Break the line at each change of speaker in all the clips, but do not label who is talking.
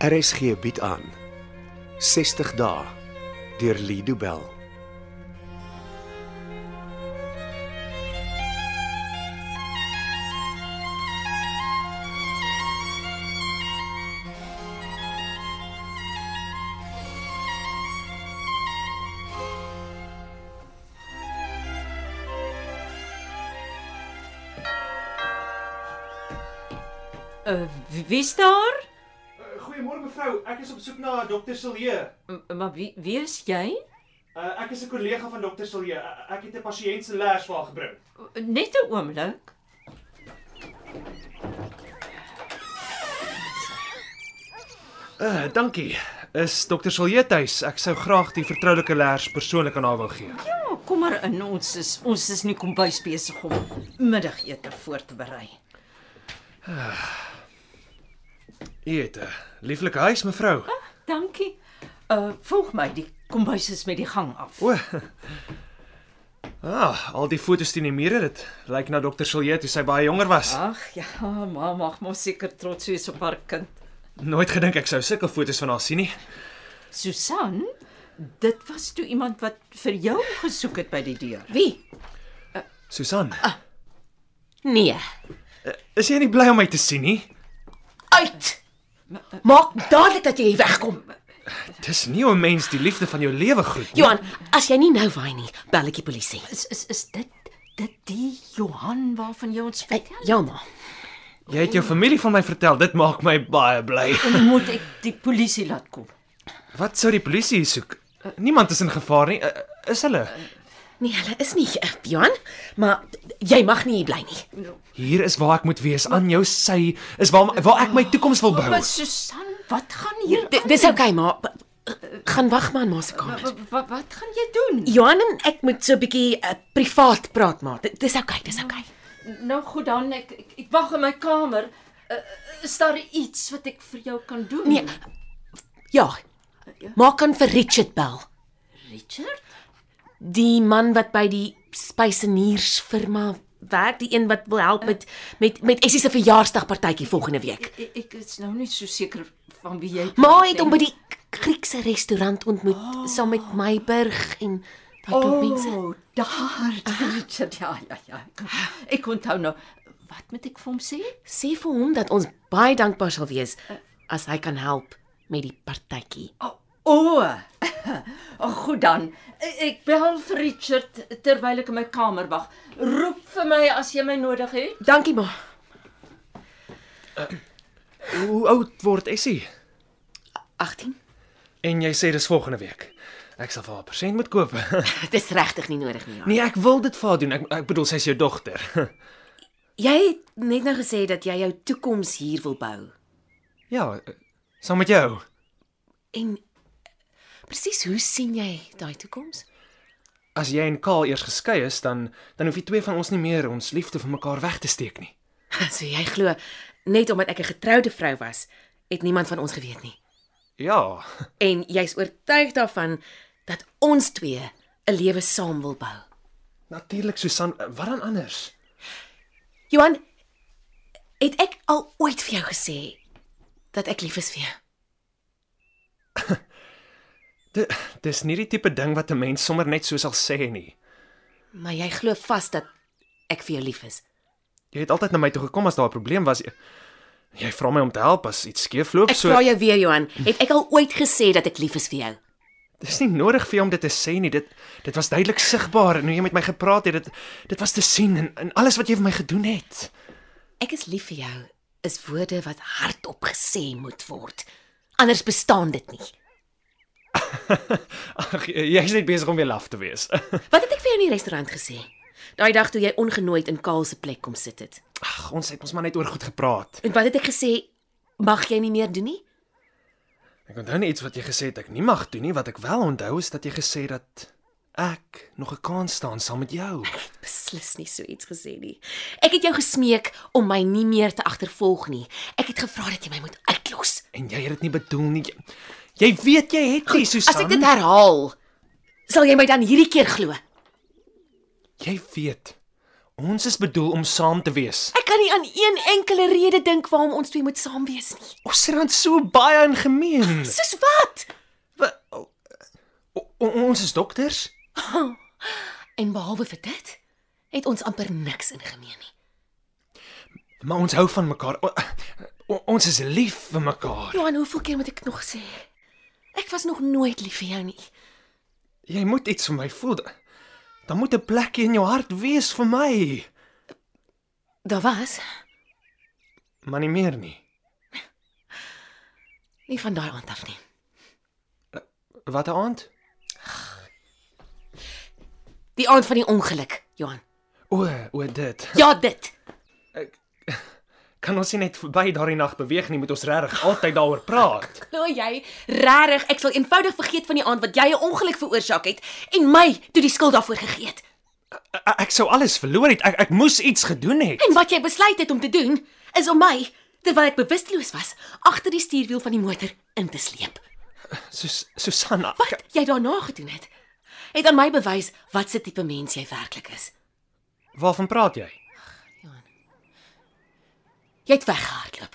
RSG bied aan 60 dae deur Lido Bell.
Uh, wie's daar?
Uh, Goeiemôre mevrou, ek is op soek na dokter Silje.
M maar wie wie is jy?
Uh, ek is 'n kollega van dokter Silje. Uh, ek het 'n pasiënt se lers vir haar gebring.
Net 'n oomblik.
Uh, dankie. Is dokter Silje tuis? Ek sou graag die vertroulike lers persoonlik aan haar wil gee.
Ja, kom maar in. Ons is ons is nie kombuis besig om middagete voor te berei.
U het 'n lieflike huis mevrou.
Dankie. Uh volg my, die kombuis is met die gang af.
O. Ah, al die fotos teen die mure, dit lyk na dokter Silje toe sy baie jonger was.
Ag ja, ma mag mos seker trots wees op haar kind.
Nooit gedink ek sou sulke fotos van haar sien nie.
Susan, dit was toe iemand wat vir jou gesoek het by die deur.
Wie?
Susan,
Nee.
is jy nie bly om my te sien nie?
Uit. Maak dadelik dat jy hier wegkom.
Dis nie hoe 'n mens die liefde van jou lewe groet nie.
Johan, as jy nie nou waai nie, bel ek die polisie.
Is is is dit dit die Johan waarvan jy ons
Hey,
vertel?
ja ma.
Jy het jou familie van my vertel. Dit maak my baie bly.
Moet ek die polisie laat kom?
Wat sou die polisie hier soek? Eh, Niemand is in gevaar nie. Uh, Is hulle?
Nee, hulle is nie eh, Johan, maar jy mag nie hier bly nie.
Hier is waar ek moet wees. Aan jou sy is waar my- waar ek my toekoms wil bou.
Maar Susan, wat gaan hier
D dis okay ma. B- Eh, Gaan wag maar in ma se kamer.
wat, wat gaan jy doen?
Johan en ek moet so 'n bietjie uh, privaat praat maar. D dis okay, dis okay.
Nou goed dan ek ek, ek wag in my kamer. Uh, is daar iets wat ek vir jou kan doen?
Nee. Ja. Ma kan vir Richard bel.
Richard?
Die man wat by die spyseniersfirma werk, die een wat wil help met met met Essie se verjaarsdagpartytjie volgende week.
Ek, ek is nou nie so seker van wie jy
Ma het hom by die Griekse restaurant ontmoet oh. saam met Meiburg en daai klomp oh. mense.
Oh, daar, die Richard. Ja, ja, ja. Ek, ek onthou nou. Wat moet ek vir hom sê?
Sê vir hom dat ons baie dankbaar sal wees as hy kan help met die partytjie.
O. Oh, oh, goed dan. Ek bel vir Richard terwyl ek in my kamer wag. Roep vir my as jy my nodig het.
Dankie ma.
Hoe oud word Essie?
18.
En jy sê dis volgende week. Ek sal vir haar 'n persent moet koop.
Dit is regtig nie nodig nie. Ja.
Nee, ek wil dit vir haar doen. Ek ek bedoel sy's jou dogter.
Jy het net nou gesê dat jy jou toekoms hier wil bou.
Ja, eh, saam met jou.
En presies hoe sien jy daai toekoms?
As jy en Kaal eers geskei is, dan dan hoef die twee van ons nie meer ons liefde vir mekaar weg te steek nie.
So jy glo net omdat ek 'n getroude vrou was, het niemand van ons geweet nie.
Ja,
En jy's oortuig daarvan dat ons twee 'n lewe saam wil bou.
natuurlik Susan, wat dan anders?
Johan, het ek al ooit vir jou gesê dat ek lief is vir jou?
Dit dis nie die tipe ding wat 'n mens sommer net so sal sê nie.
Maar jy glo vas dat ek vir jou lief is.
Jy het altyd na my toe gekom as daar 'n probleem was. Jy vra my om te help as iets skeefloop,
Ek
so
vra jou weer Johan, het ek al ooit gesê dat ek lief is vir jou?
dis nie nodig vir jou om dit te sê nie. Dit dit was duidelik sigbaar en hoe jy met my gepraat het, dit dit was te sien en, en alles wat jy vir my gedoen het.
Ek is lief vir jou is woorde wat hardop gesê moet word. Anders bestaan dit nie.
Ag, jy's net besig om weer laf te wees.
Wat het ek vir jou in die restaurant gesê? Daai dag toe jy ongenooid in Kaal se plek kom sit het.
Ag, ons het ons maar net oor goed gepraat.
En wat het ek gesê? Mag jy nie meer doen nie?
Ek onthou net iets wat jy gesê het ek nie mag doen nie, wat ek wel onthou is dat jy gesê dat ek nog 'n kans staan saam met jou.
Beslis nie so iets gesê nie. Ek het jou gesmeek om my nie meer te agtervolg nie. Ek het gevra dat jy my moet uitlos.
En jy het dit nie bedoel nie. Jy, jy weet jy het nie, Susan.
As ek dit herhaal, sal jy my dan hierdie keer glo.
Jy weet Ons is bedoel om saam te wees.
Ek kan nie aan een enkele rede dink waarom ons twee moet saam wees nie.
Ons het dan so baie in gemeen.
Soos wat?
Wa- o- o- Ons is dokters.
En behalwe vir dit, het ons amper niks in gemeen nie.
Maar ons hou van mekaar. O, o- ons is lief vir mekaar.
Johan, hoeveel keer moet ek nog sê? Ek was nog nooit lief vir jou nie.
Jy moet iets vir my voel. Dan moet 'n plekkie in jou hart wees vir my,
Daar was
maar nie meer nie.
nie van daai aand af nie.
Watter aand?
Die aand van die ongeluk, Johan.
O, o dit.
Ja, dit.
Kan ons nie net verby daardie nag beweeg nie, moet ons regtig altyd daaroor praat.
Glo jy regtig ek sal eenvoudig vergeet van die aand wat jy 'n ongeluk veroorsaak het en my toe die skuld daarvoor gegee het
Ek, ek sou alles verloor het. Ek ek moes iets gedoen het.
en wat jy besluit het om te doen is om my terwyl ek bewusteloos was agter die stuurwiel van die motor in te sleep.
Sus Susanna.
Wat jy daarna gedoen het, het aan my bewys wat se tipe mens jy werklik is.
Waarvan praat jy?
Jy het weggehardloop.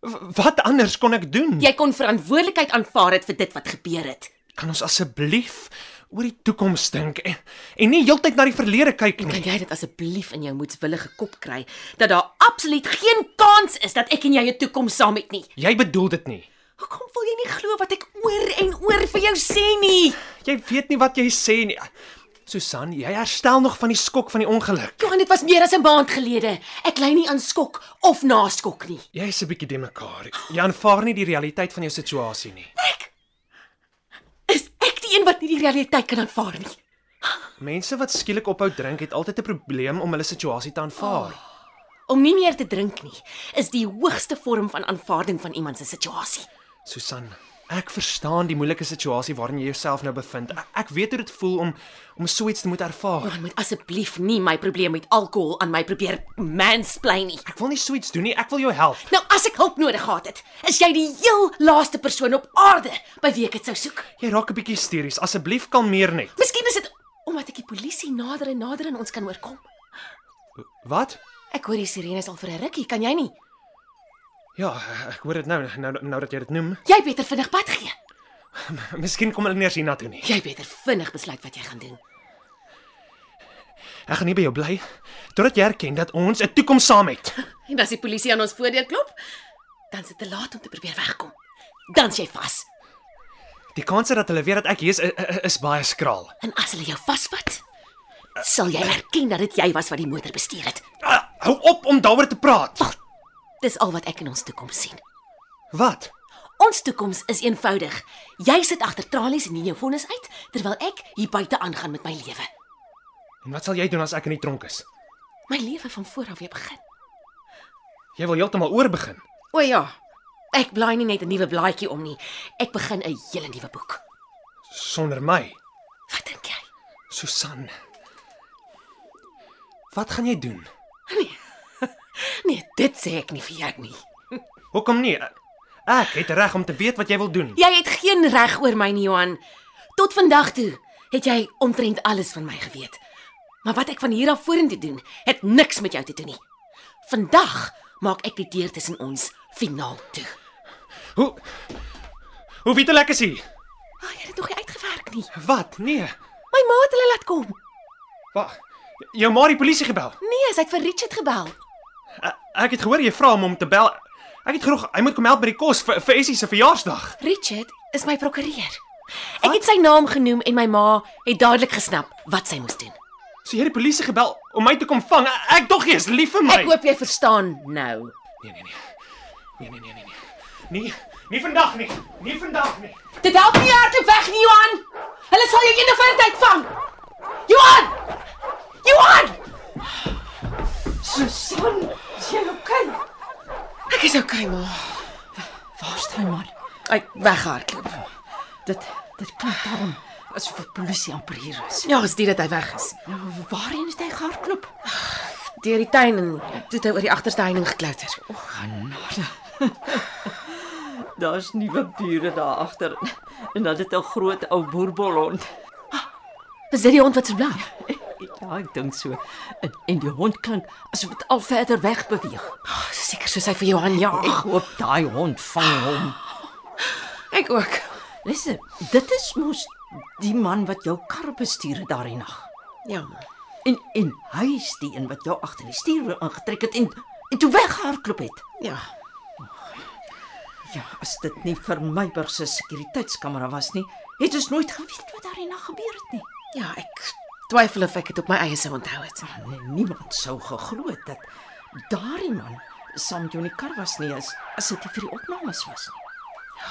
W wat anders kon ek doen?
Jy kon verantwoordelikheid aanvaar het vir dit wat gebeur het.
Kan ons asseblief oor die toekoms dink en, en nie heeltyd na die verlede kyk
Kan
nie.
jy dit asseblief in jou moedswillige kop kry dat daar absoluut geen kans is dat ek en jy 'n toekoms saam het nie?
Jy bedoel dit nie.
Hoekom wil jy nie glo wat ek oor en oor vir jou sê nie?
Jy weet nie wat jy sê nie. Susan, jy herstel nog van die skok van die ongeluk.
Johan, dit was meer as 'n maand gelede. Ek ly nie aan skok of naskok nie.
Jy is 'n bietjie de mekaar. Jy aanvaar nie die realiteit van jou situasie nie.
Is ek die een wat nie die realiteit kan aanvaar nie?
Mense wat skielik ophou drink het altyd 'n probleem om hulle situasie te aanvaar.
Om nie meer te drink nie is die hoogste vorm van aanvaarding van iemand se situasie.
Susan, ek verstaan die moeilike situasie waarin jy jouself nou bevind. Ek, ek weet hoe dit voel om om so iets te moet ervaar.
Johan, moet asseblief nie my probleem met alkohol aan my probeer mansplain nie.
Ek wil nie so iets doen nie. Ek wil jou help.
Nou as ek hulp nodig gehad het, is jy die heel laaste persoon op aarde by wie ek dit sou soek.
Jy raak 'n bietjie hysteries. Asseblief kalmeer net.
Miskien is dit omdat ek die polisie nader en nader aan ons kan oorkom.
Wat?
Ek hoor die sirenes al vir 'n rukkie, kan jy nie?
Ja, ek hoor dit nou nou nou dat jy dit noem.
Jy beter vinnig pad gee.
Miskien kom hulle nie eens hiernatoe nie.
Jy beter vinnig besluit wat jy gaan doen.
Ek gaan nie by jou bly totdat jy erken dat ons 'n toekoms saam het.
En as die polisie aan ons voordeur klop, dan is dit te laat om te probeer wegkom. Dan s'jy vas.
Die kans dat hulle weet dat ek hier is i- i- is baie skraal.
En as hulle jou vasvat, sal jy erken dat dit jy was wat die motor bestuur het.
Ah, hou op om daaroor te praat.
Dis al wat ek in ons toekoms sien.
Wat?
Ons toekoms is eenvoudig. Jy sit agter tralies en nie jou vonnis uit terwyl ek hier buite aangaan met my lewe.
En wat sal jy doen as ek in die tronk is?
My lewe van voor af weer begin.
Jy wil heeltemal oorbegin.
O ja. Ek blaai nie net 'n nuwe blaadjie om nie. Ek begin 'n hele nuwe boek.
Sonder my,
Wat dink jy?
Susan. Wat gaan jy doen?
Nee, dit sê ek nie vir jou nie.
Hoekom nie? Ek het reg om te weet wat jy wil doen.
Jy het geen reg oor my nie, Johan. Tot vandag toe het jy omtrent alles van my geweet. Maar wat ek van hier af vorentoe doen, het niks met jou te doen nie. Vandag maak ek die deur tussen ons finaal toe.
Hoe Hoe weet hulle ek is hier?
Maar oh, jy het dit nog nie uitgewerk nie.
Wat? Nee.
My ma het hulle laat kom.
Wag. Jou ma het die polisie gebel.
Nee, sy het vir Richard gebel.
E- Ek het gehoor jy vra hom om te bel. Ek het geroeg, hy moet kom help by die kos vir vir Essie se verjaarsdag.
Richard is my prokureur. Ek het sy naam genoem en my ma het dadelik gesnap wat sy moes doen.
So jy het die polisie gebel om my te kom vang. E- Ek dog jy is lief vir my.
Ek hoop jy verstaan nou.
Nee, nee, nee. Nee, nee, nee, nee, nee. Nee, nie vandag nie. Nie vandag nie.
Dit help nie hardloop weg nie, Johan. Hulle sal jou eendag vir 'n tyd vang. Johan! Johan!
Susan, is jy okay?
Ek is okay, ma.
Waar staan maar?
Ek weghardloop.
Dit dit klink daarom asof die polisie amper hier is.
Ja, is dit dat hy weg is.
Nou, waarheen het hy gehardloop?
Deur die tuin en toe het hy oor die agterste heining geklouter.
Genade. Daar's nuwe bure daar agter en dan het 'n groot ou boerbolhond.
Is dit die hond wat so blaf?
Ek Ja, ek dink so. En, en die hond klink asof dit al verder weg beweeg.
Oh, Seker soos hy vir Johan
Ek
ja.
hoop daai hond vang hom.
Ek ook.
Luister, dit is mos die man wat jou kar bestuur het daardie nag.
Ja.
En en hy is die een wat jou agter die stuur aangetrek het en en toe weghardloop het.
Ja.
Ja, as dit nie vir Meiburg se sekuriteitskamera was nie, het ons nooit geweet wat daardie nag gebeur het nie.
Ja, ek twyfel of ek dit op my eie sou onthou het.
Nee, niemand sou geglo het dat daardie man saam met jou in die kar was nie as as dit nie vir die opnames was nie.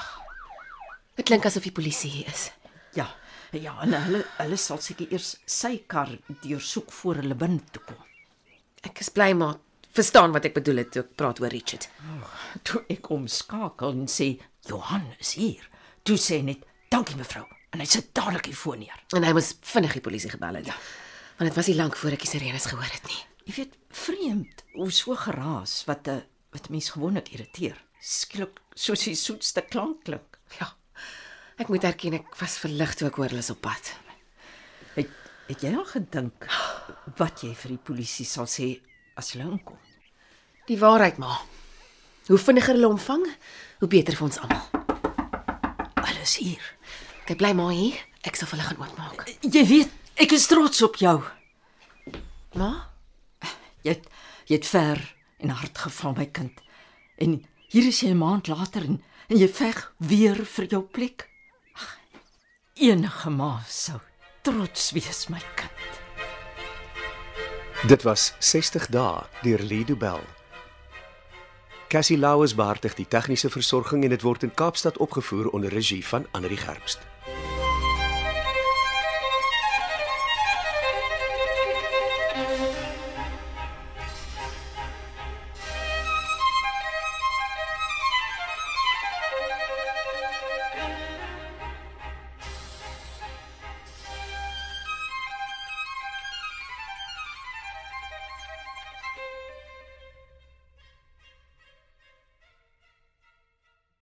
Dit klink asof die polisie hier is.
Ja. Ja, en hulle hulle sal seker eers sy kar deursoek voor hulle binne toe kom.
Ek is bly maar verstaan wat ek bedoel het toe ek praat oor Richard.
Toe ek omskakel en sê Johan is hier. Toe sê hy net dankie mevrou en hy sit dadelik die foon neer.
En hy moes vinnig die polisie gebel het. Ja. Want dit was nie lank voor ek die sirenes gehoor het nie.
Jy weet, vreemd hoe so geraas wat 'n wat 'n mens gewoonlik irriteer. Skielik soos die soetste klank klink.
Ja. Ek moet erken ek was verlig toe ek hoor hulle is op pad.
Het, het jy al gedink wat jy vir die polisie sal sê as hulle inkom?
Die waarheid maar. Hoe vinniger hulle hom vang, hoe beter vir ons almal.
Hulle is hier.
Ek bly maar hier. Ek sal vir hulle gaan oopmaak.
Jy weet, ek is trots op jou.
Ma,
Jy het, jy het ver en hard geval my kind. En hier is jy 'n maand later en, en jy veg weer vir jou plek. Ag, enige ma sou trots wees my kind.
Dit was 60 dae deur Lido Bell. Cassie Lauers beheer die tegniese versorging en dit word in Kaapstad opgevoer onder regie van Anri Gerbst.